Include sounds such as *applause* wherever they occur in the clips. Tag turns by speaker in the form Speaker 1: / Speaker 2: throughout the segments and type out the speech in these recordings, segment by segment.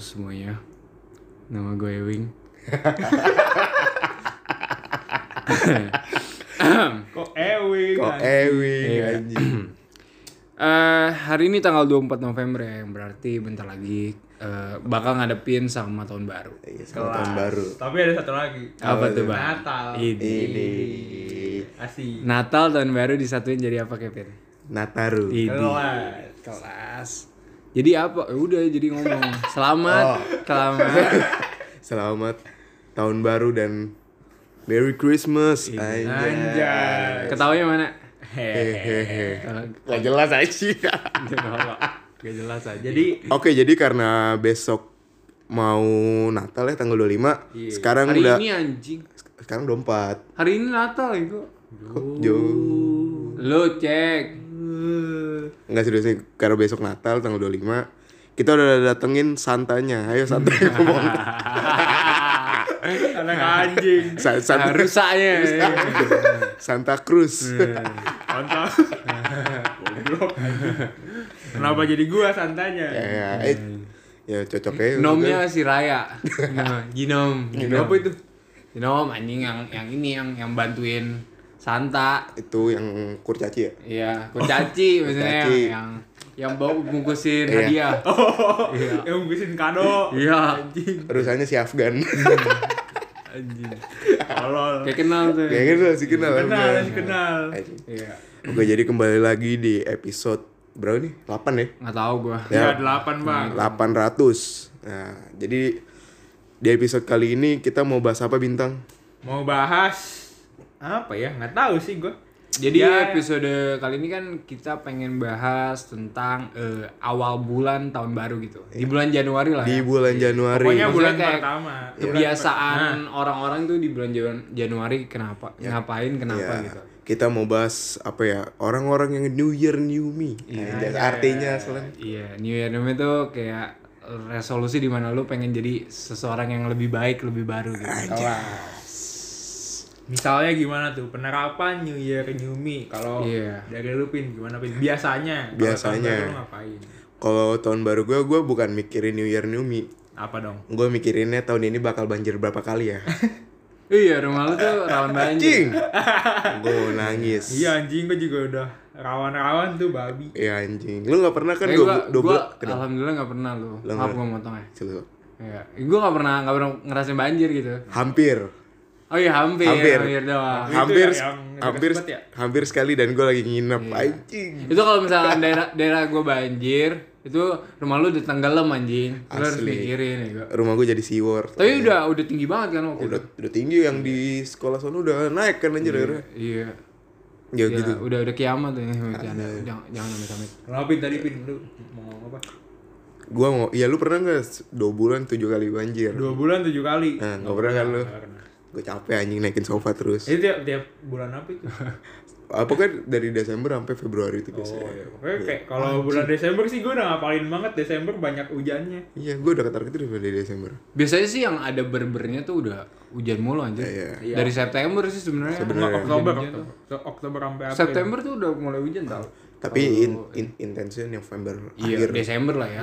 Speaker 1: semuanya. Nama gue Ewing.
Speaker 2: Kok Ewing?
Speaker 3: Kok
Speaker 2: Iya, anjing?
Speaker 3: Ewing anjing.
Speaker 1: Eh, hari ini tanggal 24 November ya, yang berarti bentar lagi eh, bakal ngadepin sama tahun baru.
Speaker 3: Iya,
Speaker 2: Kelas.
Speaker 3: selamat tahun baru.
Speaker 2: Tapi ada satu lagi.
Speaker 1: Apa tuh, Bang?
Speaker 2: Natal.
Speaker 1: Ini.
Speaker 3: Ini
Speaker 2: Asik.
Speaker 1: Natal tahun baru disatuin jadi apa Kevin?
Speaker 3: Nataru.
Speaker 2: Iya.
Speaker 1: Ini.
Speaker 2: Kelas.
Speaker 1: Kelas. Jadi apa? Ya udah jadi ngomong. Selamat, selamat.
Speaker 3: Selamat tahun baru dan Merry Christmas. Anjay.
Speaker 2: Anjay.
Speaker 1: Ketawanya mana? Eh,
Speaker 3: Hehehe.
Speaker 1: Kalau
Speaker 3: Gak jelas aja.
Speaker 1: gak jelas aja.
Speaker 2: Jadi
Speaker 3: Oke, jadi karena besok mau Natal ya tanggal 25. Sekarang
Speaker 1: hari
Speaker 3: udah
Speaker 1: ini anjing.
Speaker 3: sekarang udah 4.
Speaker 1: Hari ini Natal itu.
Speaker 3: Jauh.
Speaker 1: Lu cek.
Speaker 3: Enggak serius nih, karena besok Natal tanggal 25 kita udah datengin santanya. Ayo santanya ngomong.
Speaker 2: anak anjing.
Speaker 3: Sa- Santa,
Speaker 1: Rusaknya.
Speaker 3: *laughs* Santa Cruz.
Speaker 2: Hmm. Mantap. Goblok. anjing. Kenapa jadi gua santanya?
Speaker 3: *laughs* ya, ya,
Speaker 2: Hmm.
Speaker 3: eh, ya cocok ya.
Speaker 1: Nomnya si Raya. Nah, Ginom. Ginom apa itu? Ginom anjing yang yang ini yang yang bantuin Santa.
Speaker 3: itu yang kurcaci ya.
Speaker 1: Iya, kurcaci maksudnya
Speaker 3: kurcaci.
Speaker 1: yang yang bawa bungkusin
Speaker 3: Iya.
Speaker 1: hadiah.
Speaker 2: Oh,
Speaker 1: Iya.
Speaker 2: *laughs* yang bungkusin kado.
Speaker 1: Iya.
Speaker 2: Anjing.
Speaker 3: Terusannya si Afgan.
Speaker 2: Hmm.
Speaker 3: *laughs*
Speaker 1: Anjing.
Speaker 2: Tolol.
Speaker 1: Kayak kenal tuh.
Speaker 3: Kayak gitu masih kenal.
Speaker 2: Kenal,
Speaker 3: Afgan.
Speaker 2: harus Hmm. kenal.
Speaker 3: Anjing.
Speaker 1: Iya.
Speaker 3: Oke, jadi kembali lagi di episode berapa nih? 8 ya.
Speaker 1: Nggak tahu gua.
Speaker 2: Ya, delapan bang.
Speaker 3: Iya. 800. Nah, jadi di episode kali ini kita mau bahas apa bintang?
Speaker 2: Mau bahas apa ya? Nggak tahu sih gua.
Speaker 1: Jadi
Speaker 2: Ya.
Speaker 1: episode kali ini kan kita pengen bahas tentang eh, awal bulan tahun baru gitu. Di bulan Januari lah.
Speaker 3: Di
Speaker 1: ya.
Speaker 3: bulan
Speaker 2: Iya.
Speaker 3: Januari.
Speaker 2: Pokoknya bulan
Speaker 1: Maksudnya kayak
Speaker 2: pertama.
Speaker 3: Iya,
Speaker 1: Kebiasaan orang-orang tuh di bulan Jan- Januari kenapa? Ngapain kenapa
Speaker 3: Ya,
Speaker 1: gitu.
Speaker 3: Kita mau bahas apa ya? Orang-orang yang New Year New Me.
Speaker 2: Iya,
Speaker 3: Anjay, Artinya selain
Speaker 1: Iya, New Year New Me tuh kayak resolusi di mana lu pengen jadi seseorang yang lebih baik, lebih baru gitu.
Speaker 2: Misalnya gimana tuh penerapan New Year New Me kalau
Speaker 1: Iya.
Speaker 2: dari lu pin gimana pin biasanya kalau
Speaker 3: Biasanya.
Speaker 2: tahun baru lu ngapain
Speaker 3: Kalau tahun baru gue, gue bukan mikirin New Year New Me.
Speaker 2: apa dong
Speaker 3: Gue mikirinnya tahun ini bakal banjir berapa kali ya.
Speaker 1: Iya, rumah lu tuh rawan banjir.
Speaker 3: Anjing. gue nangis.
Speaker 2: iya anjing gua juga udah rawan-rawan tuh babi
Speaker 3: Iya anjing. Lu gak pernah kan
Speaker 1: Tapi
Speaker 3: dua,
Speaker 1: gua,
Speaker 3: dua
Speaker 1: gua
Speaker 3: bulan? Kenapa?
Speaker 1: alhamdulillah nggak pernah lu.
Speaker 3: Lu
Speaker 1: Maaf
Speaker 3: nggak-
Speaker 1: gua motong ya.
Speaker 3: Silakan.
Speaker 1: Iya, gue nggak pernah nggak pernah ngerasain banjir gitu.
Speaker 3: Hampir.
Speaker 1: Oh iya hampir,
Speaker 3: Hampir.
Speaker 1: hampir, doang.
Speaker 2: Itu ya
Speaker 3: hampir
Speaker 2: yang dekat
Speaker 3: hampir
Speaker 2: Tebet ya? Iya.
Speaker 3: hampir sekali dan gue lagi nginep anjing
Speaker 1: Itu kalau
Speaker 3: *laughs*
Speaker 1: misalnya daerah daerah gue banjir, itu rumah lu udah tenggelam anjing. Lu harus
Speaker 3: Asli.
Speaker 1: mikirin ya gua.
Speaker 3: rumah gue jadi seaward
Speaker 1: Tapi udah udah tinggi banget kan waktu itu.
Speaker 3: udah udah tinggi yang di sekolah sana udah naik kan anjir akhirnya
Speaker 1: Iya.
Speaker 3: ya
Speaker 1: Ya,
Speaker 3: gitu
Speaker 1: udah udah kiamat ya bercanda. Jangan jangan amit-amit.
Speaker 2: kenapa pin tadi pin lu mau ngomong apa
Speaker 3: gue mau ya lu pernah nggak dua bulan tujuh kali banjir
Speaker 2: dua bulan tujuh kali
Speaker 3: nah nggak pernah kan lu
Speaker 2: Nggak pernah.
Speaker 3: gue capek anjing naikin sofa terus
Speaker 2: itu tiap, tiap bulan apa itu
Speaker 3: apa kan dari Desember sampai Februari itu biasanya
Speaker 2: oh iya Pokoknya kayak kalau bulan Desember sih gua udah ngapalin banget Desember banyak hujannya
Speaker 3: iya gue udah ketar ketir dari Desember
Speaker 1: Biasanya sih yang ada berbernya tuh udah hujan mulu anjir.
Speaker 3: Iya.
Speaker 1: Dari September sih sebenarnya.
Speaker 2: Nggak, Oktober
Speaker 1: Hujan-hujan
Speaker 2: Oktober
Speaker 1: tuh.
Speaker 2: Oktober sampai April
Speaker 1: September tuh udah mulai hujan tau.
Speaker 3: tapi in, in, intensnya November
Speaker 1: Oh, Iya,
Speaker 3: akhir Iya.
Speaker 1: Desember lah ya.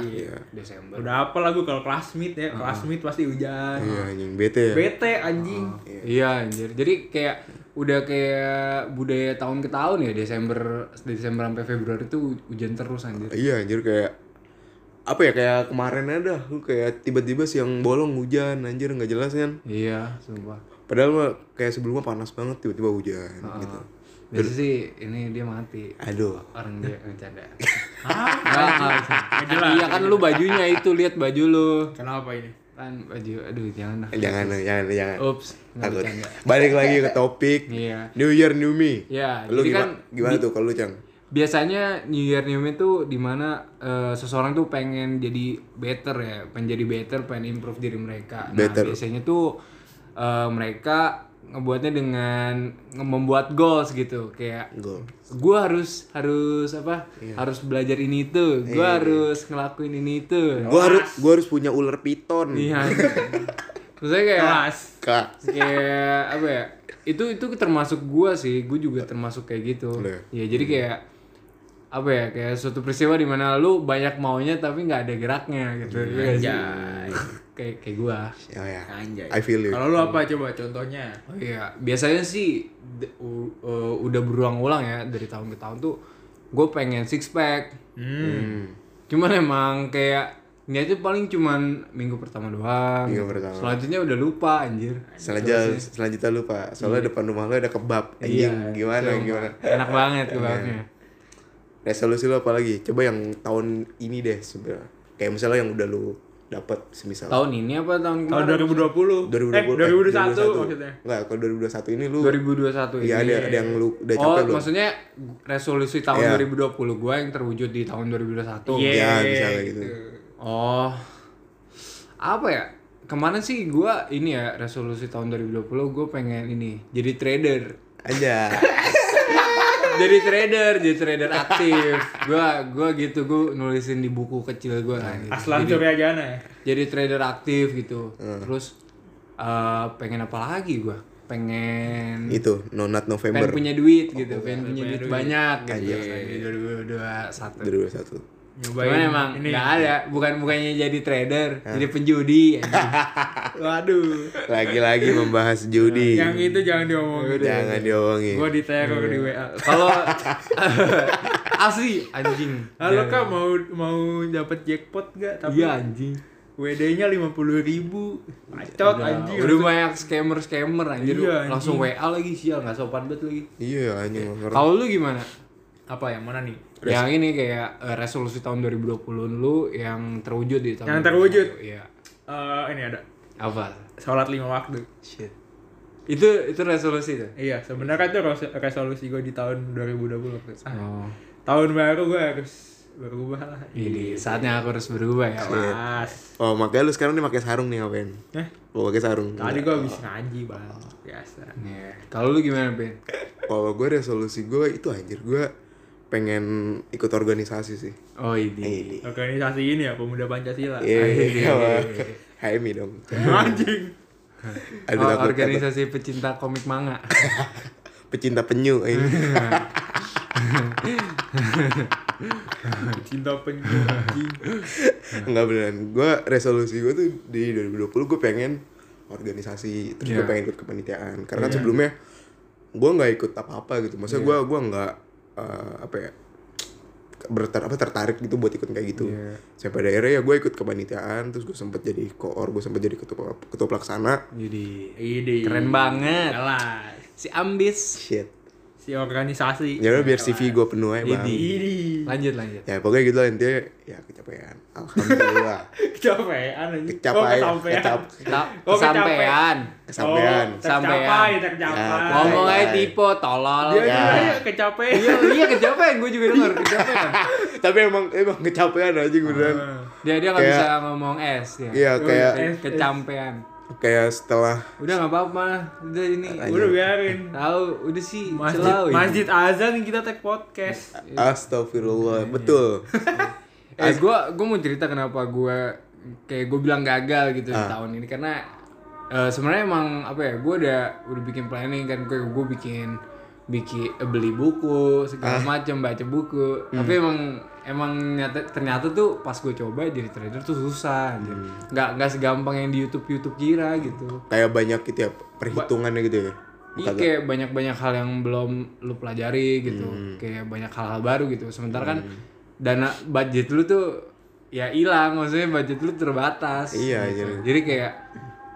Speaker 1: Desember.
Speaker 2: udah apa lah gua kalau classmate ya classmate pasti hujan
Speaker 3: iya anjing bete ya
Speaker 2: bete anjing
Speaker 1: Iya anjir. Jadi kayak udah kayak budaya tahun ke tahun ya Desember Desember sampai Februari tuh hujan terus anjir.
Speaker 3: Iya anjir kayak apa ya kayak kemarin ada lu kayak tiba-tiba siang bolong hujan anjir nggak jelas kan
Speaker 1: Iya, sumpah.
Speaker 3: padahal mah kayak sebelumnya panas banget tiba-tiba hujan
Speaker 1: Ah.
Speaker 3: gitu
Speaker 1: Biasa sih ini dia mati.
Speaker 3: aduh
Speaker 1: Orang dia
Speaker 3: *laughs*
Speaker 1: bercanda. Enggak, enggak. Iya kan lu bajunya itu lihat baju lu.
Speaker 2: kenapa ini
Speaker 1: Kan baju aduh jangan lah.
Speaker 3: jangan jangan jangan
Speaker 1: Ups, enggak
Speaker 3: Eh, takut
Speaker 1: Oh, bercanda.
Speaker 3: *laughs* balik lagi ke topik
Speaker 1: Iya.
Speaker 3: New Year New Me
Speaker 1: Iya,
Speaker 3: lu
Speaker 1: jadi
Speaker 3: gimana,
Speaker 1: kan
Speaker 3: gimana tuh kalau lu cang
Speaker 1: biasanya New Year New Me tuh dimana eh, seseorang tuh pengen jadi better ya, pengen jadi better, pengen improve diri mereka.
Speaker 3: Better.
Speaker 1: Nah biasanya tuh eh, mereka ngebuatnya dengan nge- membuat goals gitu, kayak
Speaker 3: Goal.
Speaker 1: gue harus harus apa?
Speaker 3: Iya.
Speaker 1: Harus belajar ini itu, gue harus ngelakuin ini itu.
Speaker 3: gua harus gua harus punya ular piton
Speaker 1: Iya. Terus saya kayak
Speaker 3: Nah,
Speaker 2: kelas
Speaker 3: kak
Speaker 1: kayak apa ya itu itu termasuk gua sih gua juga termasuk kayak gitu
Speaker 3: Boleh.
Speaker 1: ya jadi kayak apa ya kayak suatu peristiwa dimana lu banyak maunya tapi nggak ada geraknya gitu Iya nggak sih?
Speaker 2: Anjay.
Speaker 1: kayak kayak gua.
Speaker 3: Oh ya.
Speaker 2: Anjay.
Speaker 3: I feel you.
Speaker 2: Kalau lu apa coba contohnya?
Speaker 1: Oh iya, biasanya sih d- u- uh, udah berulang-ulang ya dari tahun ke tahun tuh gue pengen six pack.
Speaker 2: Hmm.
Speaker 3: Hmm.
Speaker 1: Cuman emang kayak niatnya paling cuman minggu pertama doang.
Speaker 3: Minggu pertama.
Speaker 1: Selanjutnya udah lupa anjir.
Speaker 2: Gitu
Speaker 3: Selanjutnya, selanjutnya lu pak.
Speaker 2: Iya.
Speaker 3: Soalnya depan rumah lu ada kebab. Anjing, gimana,
Speaker 1: Itu
Speaker 3: gimana. Iya.
Speaker 1: Enak banget kebabnya.
Speaker 3: Resolusi lu apa lagi? Coba yang tahun ini deh sebenarnya. Kayak misalnya yang udah lu dapat semisal.
Speaker 1: Tahun ini apa tahun
Speaker 2: Tahun
Speaker 1: kemarin?
Speaker 2: 2020.
Speaker 3: 2020,
Speaker 2: Eh, 2021,
Speaker 3: 2021.
Speaker 2: maksudnya.
Speaker 3: Enggak, kalau 2021 ini lu
Speaker 1: 2021 ini.
Speaker 3: Iya ada, ada yang lu udah
Speaker 1: oh,
Speaker 3: capek belum?
Speaker 1: maksudnya resolusi tahun
Speaker 3: Iya.
Speaker 1: 2020 gua yang terwujud di tahun 2021.
Speaker 2: Iya,
Speaker 3: Ya, misalnya gitu.
Speaker 1: Oh. Apa ya? Kemarin sih gua ini ya resolusi tahun 2020 gue pengen ini jadi trader.
Speaker 3: Aja.
Speaker 2: *laughs*
Speaker 1: Jadi trader, jadi trader aktif. Gua gua gitu gua nulisin di buku kecil gua kan. gitu.
Speaker 2: Aslan Surya Jana ya.
Speaker 1: Jadi trader aktif gitu.
Speaker 3: Hmm.
Speaker 1: Terus eh, pengen apa lagi gua? Pengen
Speaker 3: itu, Nonat
Speaker 1: pengen
Speaker 3: November
Speaker 1: punya duit gitu, pengen punya duit banyak gitu.
Speaker 3: Anjir.
Speaker 1: Di 2021.
Speaker 3: 2021.
Speaker 2: Nyobain.
Speaker 1: Cuman emang
Speaker 2: ini.
Speaker 1: nggak ada, bukan bukannya jadi trader, jadi penjudi. anjing.
Speaker 2: Waduh.
Speaker 3: Lagi-lagi membahas judi.
Speaker 2: Iya, Yang itu jangan diomongin.
Speaker 3: Iya. Jangan Iya. diomongin.
Speaker 2: Gua diteror di WA.
Speaker 1: Kalau *laughs* asli anjing.
Speaker 2: Halo Kak, mau mau dapat jackpot gak? Tapi
Speaker 1: Iya anjing.
Speaker 2: WD-nya 50 ribu. Pacot anjing.
Speaker 1: Udah banyak scammer scammer anjir.
Speaker 2: Iya, anjing.
Speaker 1: Langsung WA lagi sial nggak sopan banget lagi.
Speaker 3: Iya, anjing. nggak ngerti.
Speaker 1: Kalau lu gimana?
Speaker 2: Apa yang mana nih?
Speaker 1: Yang ini kayak eh, resolusi tahun 2020 lu yang terwujud di tahun
Speaker 2: Yang terwujud?
Speaker 1: 2020. Iya.
Speaker 2: Eh, ini ada.
Speaker 1: Apa?
Speaker 2: Sholat lima waktu.
Speaker 1: Shit. Itu itu resolusi tuh.
Speaker 2: Iya, sebenarnya itu res- resolusi gue di tahun 2020 waktu itu. Ah,
Speaker 1: Oh.
Speaker 2: Tahun baru gue harus berubah lah.
Speaker 3: Nah.
Speaker 1: Ini saatnya aku harus berubah ya. Pak.
Speaker 2: Mas.
Speaker 3: Oh, makanya lu sekarang nih pakai sarung nih ngapain?
Speaker 2: Eh,
Speaker 3: Lu pakai sarung.
Speaker 2: tadi gue habis ngaji, Bang. Biasa.
Speaker 1: Iya. Kalau lu gimana, Ben?
Speaker 3: Kalau gue resolusi gue itu anjir gue pengen ikut organisasi sih.
Speaker 1: Oh, ini.
Speaker 2: Iya.
Speaker 3: Ini.
Speaker 2: Organisasi ini ya, Pemuda Pancasila.
Speaker 3: Iya, iya, iya. HMI dong.
Speaker 2: *laughs* Oh, Anjing.
Speaker 3: Aduh,
Speaker 1: Oh,
Speaker 3: takut, takut.
Speaker 1: organisasi pecinta komik manga.
Speaker 3: Pecinta penyu. eh.
Speaker 2: Cinta penyu anjing.
Speaker 3: *laughs* Enggak beneran. Gue resolusi gue tuh di 2020 gue pengen organisasi. Terus gue
Speaker 1: Iya.
Speaker 3: pengen ikut kepanitiaan.
Speaker 2: Iya.
Speaker 3: Karena kan sebelumnya gue nggak ikut apa-apa gitu. Maksudnya gue gua nggak eh, apa ya berter apa tertarik gitu buat ikut kayak gitu.
Speaker 1: Iya.
Speaker 3: Saya pada akhirnya ya gue ikut kepanitiaan. Terus gue sempet jadi koor. Gue sempet jadi ketua ketua pelaksana.
Speaker 1: Jadi
Speaker 2: Ide.
Speaker 1: keren banget.
Speaker 2: Kelas.
Speaker 1: Si Ambis.
Speaker 3: Shit.
Speaker 2: Si organisasi.
Speaker 3: Ya udah biar CV gue penuh aja bang.
Speaker 1: Idi.
Speaker 2: Ini.
Speaker 1: Lanjut lanjut.
Speaker 3: Ya pokoknya gitu lah intinya ya kecapean.
Speaker 2: *laughs*
Speaker 3: Alhamdulillah.
Speaker 2: Oh, Kecapean anjing. Oh,
Speaker 3: Kecapai.
Speaker 2: kesampean.
Speaker 3: kecap,
Speaker 1: Ta-
Speaker 2: Oh,
Speaker 1: kesampean.
Speaker 3: kesampean.
Speaker 2: Oh, tercapai, tercapai.
Speaker 3: Ya,
Speaker 1: Ngomong
Speaker 3: Tai,
Speaker 1: aja
Speaker 3: tai.
Speaker 1: tipe tolol.
Speaker 2: Dia
Speaker 3: Ya.
Speaker 2: juga ya kecapean.
Speaker 1: Iya iya kecapean gue juga denger kecapean.
Speaker 3: Tapi emang emang kecapean aja beneran.
Speaker 1: Dia dia nggak
Speaker 3: Kayak-
Speaker 1: bisa ngomong S ya.
Speaker 3: Iya kayak
Speaker 2: Yoi, S.
Speaker 1: Kecampean.
Speaker 3: kayak setelah
Speaker 1: Udah nggak apa-apa. Udah ini.
Speaker 2: Udah biarin.
Speaker 3: Iya.
Speaker 1: Tahu udah sih
Speaker 2: Masjid,
Speaker 1: selalu.
Speaker 2: masjid azan kita tag podcast.
Speaker 1: Iya.
Speaker 3: astagfirullah
Speaker 1: *laughs*
Speaker 3: betul.
Speaker 1: Eh gue gue mau cerita kenapa gue kayak gue bilang gagal gitu di tahun ini karena eh, sebenarnya emang apa ya gue udah udah bikin planning kan gue gue bikin bikin eh, beli buku segala macam baca buku tapi emang emang nyata- ternyata tuh pas gue coba jadi trader tuh susah anjir. nggak nggak segampang yang di YouTube YouTube kira gitu
Speaker 3: kayak banyak gitu ya perhitungannya gitu ya.
Speaker 1: Iya kayak banyak-banyak hal yang belum lu pelajari gitu.
Speaker 3: Hmm.
Speaker 1: Kayak banyak hal-hal baru gitu. Sementara kan dana budget lu tuh ya hilang, maksudnya budget lu terbatas.
Speaker 3: Iya,
Speaker 1: gitu.
Speaker 3: iya.
Speaker 1: Jadi kayak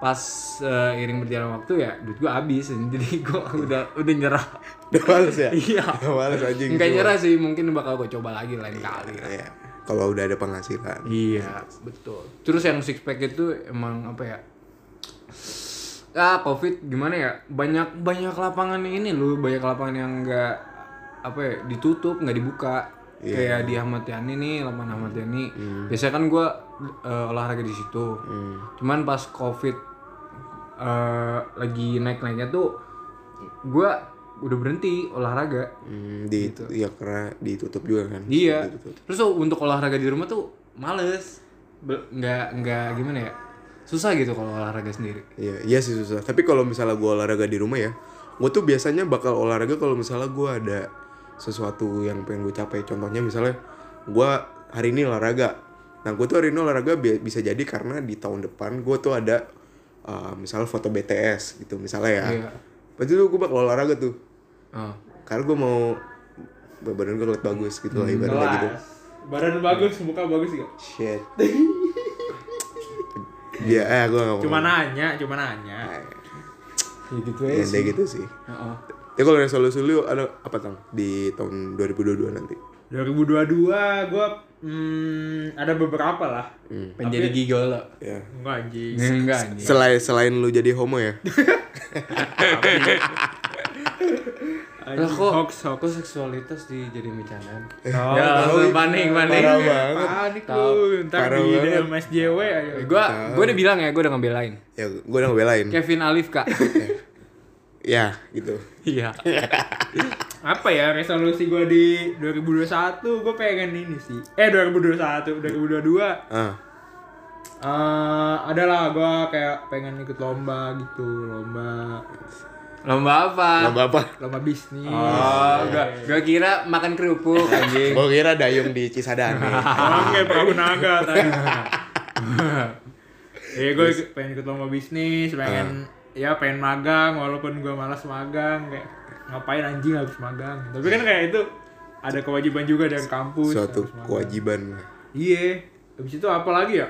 Speaker 1: pas eh, iring berjalan waktu ya duit gua habis jadi gua *laughs* udah udah nyerah.
Speaker 3: Udah males ya?
Speaker 1: Iya.
Speaker 3: Udah males anjing.
Speaker 1: Enggak
Speaker 3: Cuma-
Speaker 1: nyerah sih, mungkin bakal gua coba lagi lain kali. lah.
Speaker 3: Iya. Kalau udah ada penghasilan.
Speaker 1: Iya, betul. Terus yang six pack itu emang apa ya? Ah, covid gimana ya? Banyak banyak lapangan ini lu, banyak lapangan yang enggak apa ya, ditutup, nggak dibuka. Kayak di Ahmad Yani nih, lapangan Ahmad Yani. Biasanya kan gua eh, olahraga di situ. Cuman pas covid eh, lagi naik-naiknya tuh gua udah berhenti olahraga.
Speaker 3: Hmm, di ya karena ditutup juga kan.
Speaker 1: Iya.
Speaker 3: Ditutup.
Speaker 1: Terus tuh untuk olahraga di rumah tuh males. Be- Nggak nggak gimana ya? Susah gitu kalau olahraga sendiri.
Speaker 3: Iya, iya sih susah. Tapi kalau misalnya gua olahraga di rumah ya, gue tuh biasanya bakal olahraga kalau misalnya gua ada sesuatu yang pengen gue capai. Contohnya misalnya gua hari ini olahraga, Nah gue tuh hari ini olahraga bi- bisa jadi karena di tahun depan gue tuh ada eh, misalnya foto BTS gitu misalnya ya.
Speaker 1: Iya.
Speaker 3: Berarti tuh gue bakal olahraga tuh.
Speaker 1: Ah.
Speaker 3: Karena gue mau badan gue liat bagus gitu
Speaker 1: Hmm.
Speaker 3: lah ibaratnya gitu.
Speaker 2: Kelas. Badan bagus, muka bagus gak?
Speaker 3: Shit. Dia eh gue gak mau.
Speaker 2: Cuma nanya, cuma nanya.
Speaker 1: Ya gitu
Speaker 3: Ya,
Speaker 1: aja
Speaker 3: dia
Speaker 1: sih.
Speaker 3: gitu sih.
Speaker 1: Heeh.
Speaker 3: Tapi Ya, kalau resolusi lu ada apa tang di tahun 2022 nanti?
Speaker 2: 2022 gue hmm, ada beberapa lah.
Speaker 1: Penjadi gigolo.
Speaker 3: Ya.
Speaker 2: Enggak anjing.
Speaker 1: Enggak enggak anjing.
Speaker 3: Selain selain lu jadi homo ya.
Speaker 1: Lah
Speaker 2: Anjing,
Speaker 1: kok,
Speaker 2: hoax hoax.
Speaker 1: kok seksualitas dijadiin bercandaan?
Speaker 2: Oh,
Speaker 1: ya,
Speaker 3: tahu itu.
Speaker 1: panik, panik.
Speaker 3: *laughs* Parah Eh, banget.
Speaker 2: panik
Speaker 1: Tahu.
Speaker 2: lu ntar
Speaker 3: Parah
Speaker 2: di
Speaker 3: banget.
Speaker 2: DM SJW ayo.
Speaker 1: Eh, Gua, gua udah bilang ya, gua udah ngebelain.
Speaker 3: Ya gue udah ngebelain.
Speaker 1: Kevin Alif
Speaker 3: *laughs*
Speaker 1: kak.
Speaker 3: Ya gitu.
Speaker 1: Iya.
Speaker 2: Apa ya resolusi gue di 2021 gue pengen ini sih. Eh 2021, 2022
Speaker 3: Ah.
Speaker 2: eh adalah gue kayak pengen ikut lomba gitu, lomba
Speaker 1: Lomba apa?
Speaker 3: Lomba apa?
Speaker 2: lomba bisnis.
Speaker 3: Ah,
Speaker 1: Oh, gua, gua kira makan kerupuk
Speaker 3: Iya.
Speaker 1: anjing.
Speaker 3: Gue kira dayung di Cisadane.
Speaker 2: Orang *laughs* kayak perahu naga tadi. *laughs* Iya gue pengen ikut lomba bisnis, pengen ya pengen magang walaupun gue malas magang kayak ngapain anjing harus magang. Tapi kan kayak itu ada kewajiban juga dari kampus.
Speaker 3: *laughs* Suatu
Speaker 2: harus magang.
Speaker 3: kewajiban.
Speaker 2: Iya. Habis itu apa lagi ya?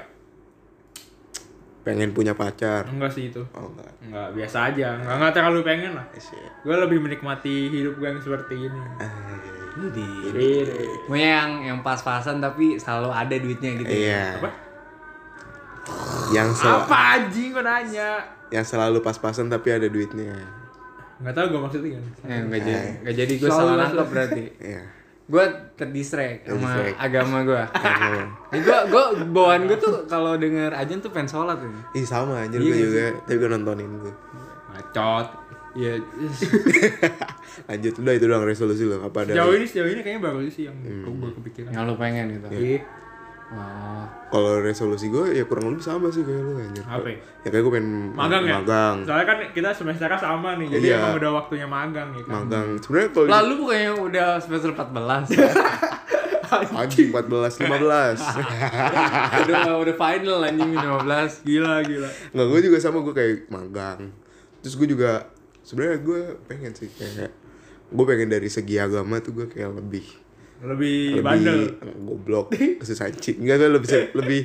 Speaker 3: Pengen punya pacar.
Speaker 2: Enggak sih itu.
Speaker 3: Oh enggak.
Speaker 2: Enggak, biasa aja. Enggak, enggak terlalu pengen lah.
Speaker 3: Shit.
Speaker 2: Gue lebih menikmati hidup gue yang seperti ini.
Speaker 1: Ini.
Speaker 2: Iya.
Speaker 1: Mau yang yang pas-pasan tapi selalu ada duitnya gitu.
Speaker 3: Iya.
Speaker 2: Apa?
Speaker 3: Yang sel-
Speaker 2: Apa anjing gue nanya?
Speaker 3: yang selalu pas-pasan tapi ada duitnya.
Speaker 2: Enggak tahu gue maksudnya kan.
Speaker 1: Eh, nggak jadi, nggak jadi gue
Speaker 2: Selalu
Speaker 1: salah
Speaker 2: masuk.
Speaker 1: nangkep berarti.
Speaker 3: Iya.
Speaker 1: Gue terdistrek sama
Speaker 3: Terdistract.
Speaker 1: agama gue. gue gue bawaan gue tuh kalau denger aja tuh pengen sholat ini.
Speaker 3: Ih sama anjir gue juga, tapi gue nontonin tuh.
Speaker 2: Bacot.
Speaker 1: Iya.
Speaker 3: *laughs* Lanjut udah itu doang resolusi lo apa ada?
Speaker 2: Sejauh ini sejauh ini kayaknya baru sih yang gue kepikiran.
Speaker 1: yang lo pengen gitu.
Speaker 2: Iya.
Speaker 1: Oh.
Speaker 3: Kalau resolusi gue ya kurang lebih sama sih kayak lu anjir.
Speaker 2: Apa ya?
Speaker 3: Ya kayak gue pengen
Speaker 2: Magang ya?
Speaker 3: Magang.
Speaker 2: Soalnya kan kita semesternya sama nih, jadi
Speaker 3: Iya.
Speaker 2: emang udah waktunya magang ya kan.
Speaker 3: Magang. Sebenarnya kalau di-
Speaker 1: Lalu bukannya udah semester 14
Speaker 3: anjing 14
Speaker 2: *laughs*
Speaker 3: 15.
Speaker 1: udah udah final anjing 15
Speaker 2: Gila gila.
Speaker 3: Nggak, gue juga sama gue kayak magang. Terus gue juga sebenarnya gue pengen sih kayak gue pengen dari segi agama tuh gue kayak lebih
Speaker 2: Lebih,
Speaker 3: lebih
Speaker 2: bandel.
Speaker 3: goblok sesanci enggak tuh lebih lebih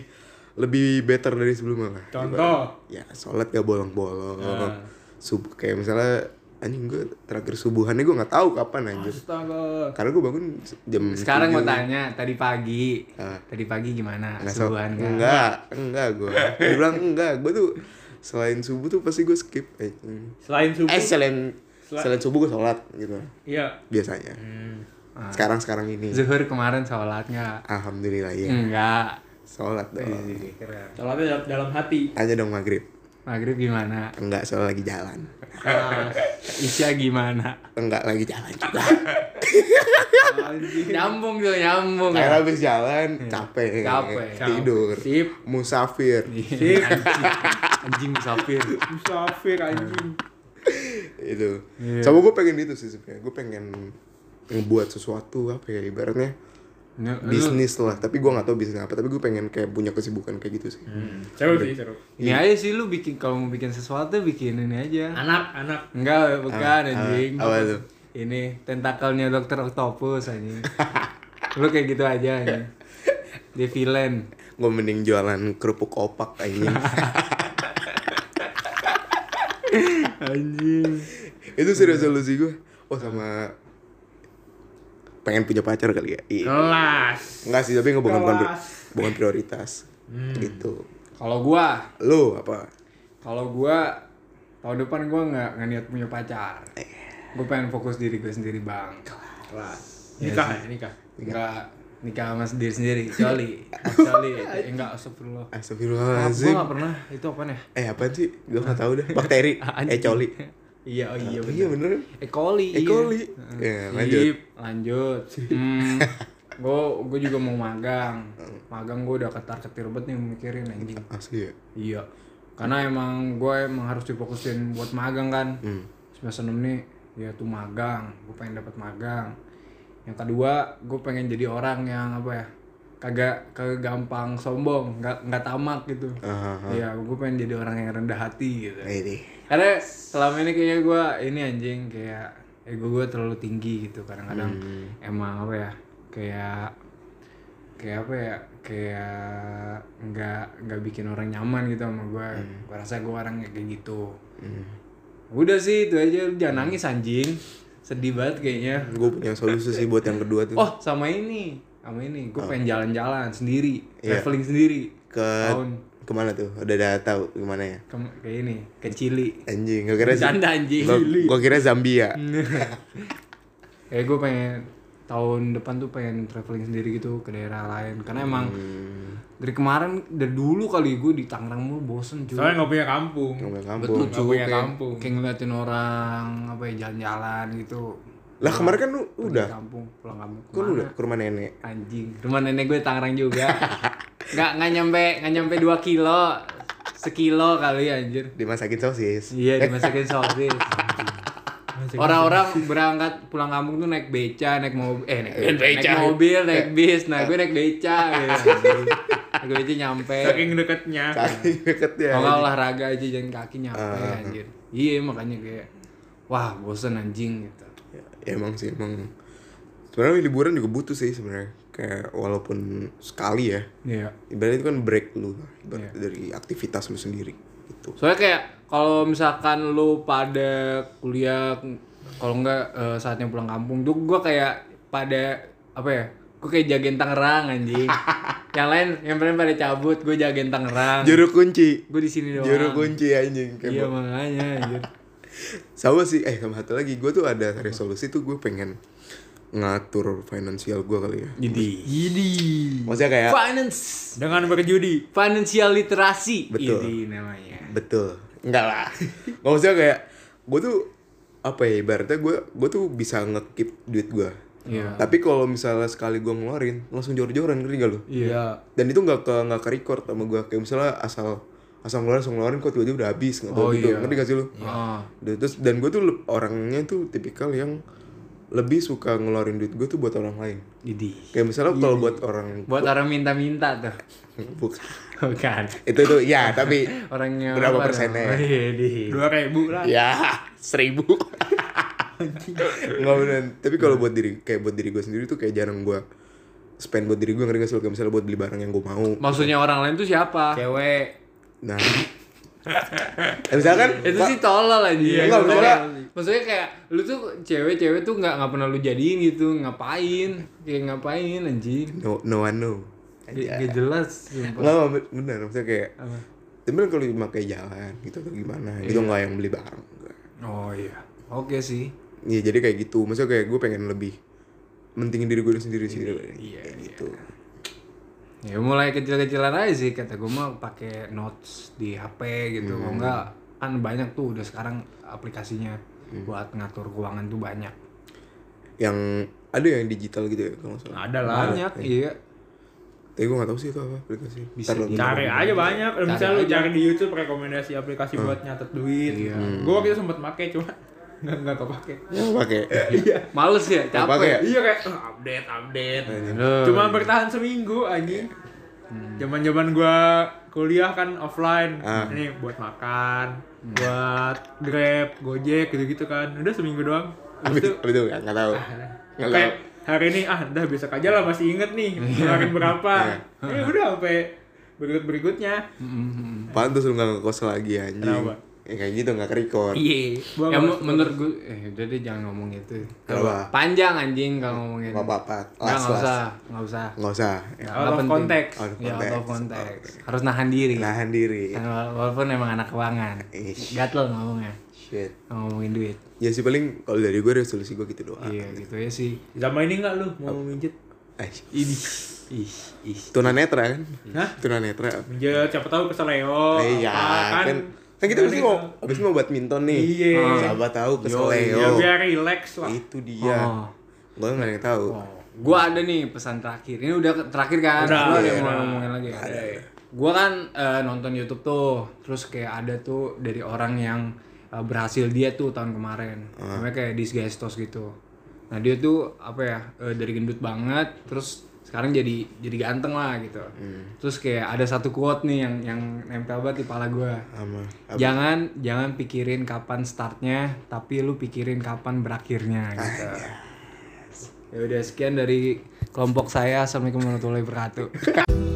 Speaker 3: lebih better dari sebelumnya lah
Speaker 2: Contoh.
Speaker 3: ya sholat gak bolong-bolong
Speaker 2: Nah.
Speaker 3: Sub- kayak misalnya anjing gue terakhir subuhannya gue nggak tahu kapan anjir
Speaker 2: Astaga.
Speaker 3: karena gue bangun jam
Speaker 1: Sekarang mau
Speaker 3: 7.
Speaker 1: tanya, tadi pagi
Speaker 3: Ah.
Speaker 1: Tadi pagi gimana?
Speaker 3: Nggak, so-
Speaker 1: Subuhan kan?
Speaker 3: enggak enggak gue gue bilang enggak gue tuh selain subuh tuh pasti gue skip eh, hmm.
Speaker 2: Selain subuh.
Speaker 3: eh selain selain subuh gue sholat gitu
Speaker 2: Iya.
Speaker 3: biasanya
Speaker 1: Hmm. Ah.
Speaker 3: sekarang sekarang ini
Speaker 1: Zuhur kemarin sholat nggak?
Speaker 3: alhamdulillah ya
Speaker 1: Hmm. Enggak
Speaker 3: sholat
Speaker 1: Oh.
Speaker 3: dong
Speaker 2: Iya. Sholatnya dalam, dalam hati.
Speaker 3: tanya dong maghrib
Speaker 1: Maghrib gimana?
Speaker 3: enggak soalnya lagi jalan
Speaker 1: Isya gimana?
Speaker 3: enggak lagi jalan
Speaker 1: *laughs*
Speaker 3: juga
Speaker 2: Anjing.
Speaker 1: Nyambung tuh, nyambung
Speaker 3: karena
Speaker 1: ya
Speaker 3: habis jalan capek
Speaker 1: Capek. Iya.
Speaker 3: tidur
Speaker 2: Sip.
Speaker 3: musafir
Speaker 1: Anjing, anjing musafir
Speaker 2: Musafir anjing.
Speaker 3: itu
Speaker 1: Iya.
Speaker 3: sama gue pengen itu sih sebenarnya gue pengen ngebuat sesuatu apa ya ibaratnya
Speaker 1: Nyu- lu-
Speaker 3: bisnis lah tapi gue nggak tahu bisnis apa tapi gue pengen kayak punya kesibukan kayak gitu sih
Speaker 1: Hmm.
Speaker 2: Seru sih seru.
Speaker 1: Ini aja sih lu bikin, kalau mau bikin sesuatu bikin ini aja
Speaker 2: Anak anak.
Speaker 1: Enggak, bukan
Speaker 2: Ah,
Speaker 1: anjing
Speaker 3: apa tuh?
Speaker 1: Ini, tentakelnya dokter octopus
Speaker 2: *laughs*
Speaker 1: anjing Lu kayak gitu aja anjing Dia villain
Speaker 3: gue mending jualan kerupuk opak anjing
Speaker 1: Anjing
Speaker 3: itu sih resolusi gue oh sama pengen punya pacar kali ya iya
Speaker 1: Oh.
Speaker 2: Kelas.
Speaker 3: Enggak sih tapi bukan bukan,
Speaker 2: Kelas.
Speaker 3: bukan prioritas
Speaker 1: Hmm.
Speaker 3: gitu
Speaker 1: Kalau gua
Speaker 3: lu apa
Speaker 1: Kalau gua tahun depan gua nggak nggak niat punya pacar. Gua pengen fokus diri gue sendiri bang.
Speaker 2: Kelas. Nikah ya, nikah.
Speaker 1: Enggak nikah sama sendiri sendiri.
Speaker 2: *laughs*
Speaker 1: Coli, coli. Eh, Enggak astagfirullah. Maaf, Gua
Speaker 3: Astagfirullahaladzim
Speaker 1: nggak pernah. Itu ya? apa nih?
Speaker 3: Eh apa sih? Gue gak tau deh
Speaker 1: *laughs*
Speaker 3: Bakteri Eh coli
Speaker 1: Iya, oh iya
Speaker 3: Iya
Speaker 1: bener.
Speaker 3: bener
Speaker 1: E. coli.
Speaker 3: E. coli Ya lanjut
Speaker 1: Iya. Sip, lanjut. Hmm. gue gue juga mau magang. Magang gue udah ketar ketir banget nih mikirin anjing.
Speaker 3: Asli ya
Speaker 1: Iya. Karena emang gue emang harus difokusin buat magang kan. Semester 6 nih ya tuh magang. Gue pengen dapat magang. Yang kedua, gue pengen jadi orang yang apa ya? kagak kagak gampang sombong nggak nggak tamak gitu
Speaker 3: Aha.
Speaker 1: Iya, gue pengen jadi orang yang rendah hati gitu.
Speaker 3: Nah, ini.
Speaker 1: Karena selama ini kayaknya gue ini anjing kayak ego gue terlalu tinggi gitu. Kadang-kadang
Speaker 3: Hmm.
Speaker 1: emang apa ya kayak kayak apa ya kayak nggak nggak bikin orang nyaman gitu sama gue.
Speaker 3: Hmm.
Speaker 1: Gue rasa gue orang kayak gitu. Udah sih itu aja Lu jangan nangis anjing. Sedih banget kayaknya.
Speaker 3: Gue punya solusi sih buat yang kedua tuh.
Speaker 1: Oh sama ini sama ini gue pengen jalan-jalan sendiri
Speaker 3: Iya.
Speaker 1: traveling sendiri
Speaker 3: Ke
Speaker 1: tahun
Speaker 3: kemana tuh? Udah ada tahu gimana ya?
Speaker 1: ke, kayak ini ke Chili.
Speaker 3: Anjing, gue kira
Speaker 1: Bercanda, anjing.
Speaker 3: Gua, gua kira Zambia.
Speaker 1: ya gue pengen tahun depan tuh pengen traveling sendiri gitu ke daerah lain karena emang
Speaker 3: Hmm.
Speaker 1: dari kemarin dari dulu kali gue di Tangerang mulu bosen cuy
Speaker 2: Soalnya nggak punya kampung.
Speaker 3: Ngomong
Speaker 1: betul
Speaker 3: kampung.
Speaker 2: nggak
Speaker 1: cuy
Speaker 2: punya
Speaker 1: kayak,
Speaker 2: kampung.
Speaker 1: kayak ngeliatin orang apa ya jalan-jalan gitu
Speaker 3: Lah kemarin kan lu
Speaker 1: Pergi
Speaker 3: udah,
Speaker 1: kampung pulang kampung
Speaker 3: kok lu
Speaker 1: Kemana?
Speaker 3: udah ke rumah nenek.
Speaker 1: anjing rumah nenek gue Tangerang
Speaker 3: *laughs*
Speaker 1: juga nggak nggak nyampe nggak nyampe dua kilo sekilo kali anjir
Speaker 3: Dimasakin sosis.
Speaker 1: Iya dimasakin sosis. Orang-orang berangkat pulang kampung tuh naik beca, naik mobil, eh naik, naik mobil, naik bis. Nah gue naik beca. gitu. naik beca nyampe.
Speaker 2: Saking deketnya.
Speaker 1: Iya.
Speaker 3: *laughs* Saking deket
Speaker 1: Kalau nggak
Speaker 3: ya.
Speaker 1: olahraga aja jalan kaki nyampe anjir. Iya makanya kayak wah bosen anjing gitu.
Speaker 3: Ya, emang sih emang. Sebenarnya liburan juga butuh sih sebenarnya. Kayak walaupun sekali ya.
Speaker 1: Iya.
Speaker 3: Ibaratnya itu kan break lu lah, ibarat dari aktivitas lu sendiri gitu.
Speaker 1: Soalnya kayak kalau misalkan lu pada kuliah kalau nggak eh, saatnya pulang kampung tuh gua kayak pada apa ya? Gue kayak jagain Tangerang
Speaker 3: *laughs*
Speaker 1: anjing. yang lain yang lain pada cabut, gue jagain Tangerang.
Speaker 3: Juru kunci.
Speaker 1: Gue di sini doang.
Speaker 3: Juru kunci anjing.
Speaker 1: Iya
Speaker 3: Kayak
Speaker 1: makanya
Speaker 3: *laughs*
Speaker 1: anjir.
Speaker 3: sama sih eh sama satu lagi gue tuh ada resolusi tuh gue pengen ngatur finansial gue kali ya
Speaker 1: Jadi. Jadi.
Speaker 3: maksudnya kayak
Speaker 1: Finance
Speaker 2: Dengan berjudi.
Speaker 1: financial literasi
Speaker 3: Betul.
Speaker 1: ini namanya.
Speaker 3: betul enggak lah *laughs* nggak maksudnya kayak gue tuh apa ya ibaratnya gue gue tuh bisa ngekip duit gue
Speaker 1: Iya.
Speaker 3: tapi kalau misalnya sekali gue ngeluarin langsung jor-joran ngerti gak lu
Speaker 1: Iya.
Speaker 3: dan itu nggak ke nggak ke record sama gue kayak misalnya asal asal ngeluarin asal ngeluarin kok tiba-tiba udah habis nggak tahu
Speaker 1: Oh,
Speaker 3: gitu
Speaker 1: iya.
Speaker 3: ngerti gak sih lu
Speaker 1: Ah.
Speaker 3: Dan- terus dan gue tuh le- orangnya tuh tipikal yang lebih suka ngeluarin duit gue tuh buat orang lain
Speaker 1: Jadi.
Speaker 3: kayak misalnya kalau buat orang
Speaker 1: Buat orang minta-minta tuh.
Speaker 3: bukan
Speaker 1: Bukan.
Speaker 3: itu tuh ya
Speaker 1: *laughs*
Speaker 3: tapi
Speaker 1: Orangnya
Speaker 3: Berapa persennya?
Speaker 1: Iya, di.
Speaker 2: Dua ribu lah.
Speaker 3: ya seribu nggak bener tapi
Speaker 1: Iya.
Speaker 3: kalau buat diri kayak buat diri gue sendiri tuh kayak jarang gue spend buat diri gue ngerti gak sih lo? kayak misalnya buat beli barang yang gue mau
Speaker 1: Maksudnya orang lain tuh siapa?
Speaker 2: Cewek.
Speaker 3: nah Eh, misalkan
Speaker 1: itu sih tolol aja
Speaker 3: Iya,
Speaker 1: Enggak,
Speaker 3: itu
Speaker 1: maksudnya,
Speaker 3: tolol.
Speaker 1: maksudnya kayak lu tuh cewek-cewek tuh nggak nggak pernah lu jadiin gitu ngapain kayak ngapain anjing
Speaker 3: no no one know
Speaker 1: Gak-
Speaker 3: Iya.
Speaker 1: gak jelas sumpah.
Speaker 3: nggak bener maksudnya kayak tapi kan kalau dipakai jalan gitu atau gimana
Speaker 1: Iya.
Speaker 3: gitu nggak yang beli barang nggak.
Speaker 1: oh iya oke sih
Speaker 3: Iya jadi kayak gitu maksudnya kayak gue pengen lebih mentingin diri gue sendiri sih
Speaker 1: iya,
Speaker 3: Kayak gitu
Speaker 1: ya mulai kecil-kecilan aja sih kata gue mah pakai notes di HP gitu kalau nggak kan banyak tuh udah sekarang aplikasinya buat ngatur keuangan tuh banyak
Speaker 3: yang ada yang digital gitu ya kalau nggak salah
Speaker 2: Ada lah.
Speaker 1: banyak iya
Speaker 3: tapi gue nggak tahu sih itu apa aplikasi
Speaker 1: Bisa
Speaker 3: Ntar lo-
Speaker 2: Cari aja banyak. Misalnya lu Iya. cari di YouTube rekomendasi
Speaker 1: Hmm.
Speaker 2: aplikasi buat nyatet duit.
Speaker 1: Iya.
Speaker 2: Gue waktu itu sempet make cuma *laughs* nggak nggak kepake.
Speaker 3: ya
Speaker 1: *laughs*
Speaker 3: pakai
Speaker 1: males ya
Speaker 3: Nggak pakai
Speaker 1: capek
Speaker 3: ya?
Speaker 2: Iya kayak "Eh, update update.
Speaker 1: Loh.
Speaker 2: Cuma bertahan seminggu anjing.
Speaker 1: Hmm.
Speaker 2: Zaman-zaman gua kuliah kan offline.
Speaker 3: Ah.
Speaker 2: Ini buat makan,
Speaker 1: Hmm.
Speaker 2: buat Grab, Gojek gitu-gitu kan. Udah seminggu doang.
Speaker 3: abis
Speaker 2: Habis itu
Speaker 3: abis itu nggak nggak
Speaker 1: *laughs*
Speaker 3: tahu nggak tahu
Speaker 2: kayak hari ini ah udah besok aja lah masih inget nih kemarin berapa. Eh udah sampai berikut-berikutnya.
Speaker 1: Nah, Mm-mm.
Speaker 3: apaan tuh lu nggak ngekos lagi anjing
Speaker 2: Kenapa?
Speaker 3: ya kayak gitu nggak record
Speaker 1: Iya.
Speaker 2: Gua
Speaker 1: Ya,
Speaker 2: nggak
Speaker 1: mu- menurut gue, eh udah deh jangan ngomong itu.
Speaker 3: Kenapa?
Speaker 1: Panjang anjing kalau ngomongin.
Speaker 3: nggak apa-apa
Speaker 1: Nggak,
Speaker 3: las
Speaker 1: nggak
Speaker 3: las
Speaker 1: usah, nggak usah.
Speaker 3: nggak usah ya.
Speaker 1: Nggak
Speaker 2: Out of
Speaker 1: penting.
Speaker 2: konteks.
Speaker 3: Out of
Speaker 1: Ya out of
Speaker 3: context.
Speaker 1: context. Harus nahan diri.
Speaker 3: nahan diri
Speaker 1: Karena wala- Walaupun emang anak keuangan.
Speaker 3: Nah, iya. Ish.
Speaker 1: Gatel ngomongnya.
Speaker 3: shit
Speaker 1: Nggak Ngomongin duit.
Speaker 3: ya sih paling kalau dari gue resolusi gue gitu doang
Speaker 1: Iya gitu ya sih.
Speaker 2: Sama ini enggak lu mau minjet?
Speaker 3: Eh,
Speaker 1: Ini. Ih, ih.
Speaker 3: tunanetra kan
Speaker 2: Hah?
Speaker 3: tunanetra
Speaker 2: Minjet siapa tahu ke Seleo.
Speaker 3: Iya,
Speaker 2: apa,
Speaker 3: kan. Kan
Speaker 2: Oh, ah, Kan
Speaker 3: kita pasti
Speaker 2: itu.
Speaker 3: mau habis mau badminton nih.
Speaker 2: Iya.
Speaker 3: Siapa tahu ke
Speaker 2: Ya
Speaker 3: Seleo.
Speaker 2: biar relax lah.
Speaker 3: Itu dia.
Speaker 1: Oh.
Speaker 3: Gue enggak ada yang tahu.
Speaker 2: Oh.
Speaker 1: Gua ada nih pesan terakhir. Ini udah ke- terakhir kan?
Speaker 2: Udah,
Speaker 1: Lu ada
Speaker 2: iya,
Speaker 1: yang mau
Speaker 2: udah.
Speaker 1: ngomongin lagi? Ada. Gua kan eh, nonton YouTube tuh, terus kayak ada tuh dari orang yang eh, berhasil dia tuh tahun kemarin. Namanya kayak Disguised Toast gitu. Nah, dia tuh apa ya? eh, dari gendut banget, terus sekarang jadi jadi ganteng lah gitu terus kayak ada satu quote nih yang yang nempel banget di pala gue
Speaker 3: sama
Speaker 1: jangan jangan pikirin kapan startnya tapi lu pikirin kapan berakhirnya gitu ya udah sekian dari kelompok saya assalamualaikum warahmatullahi wabarakatuh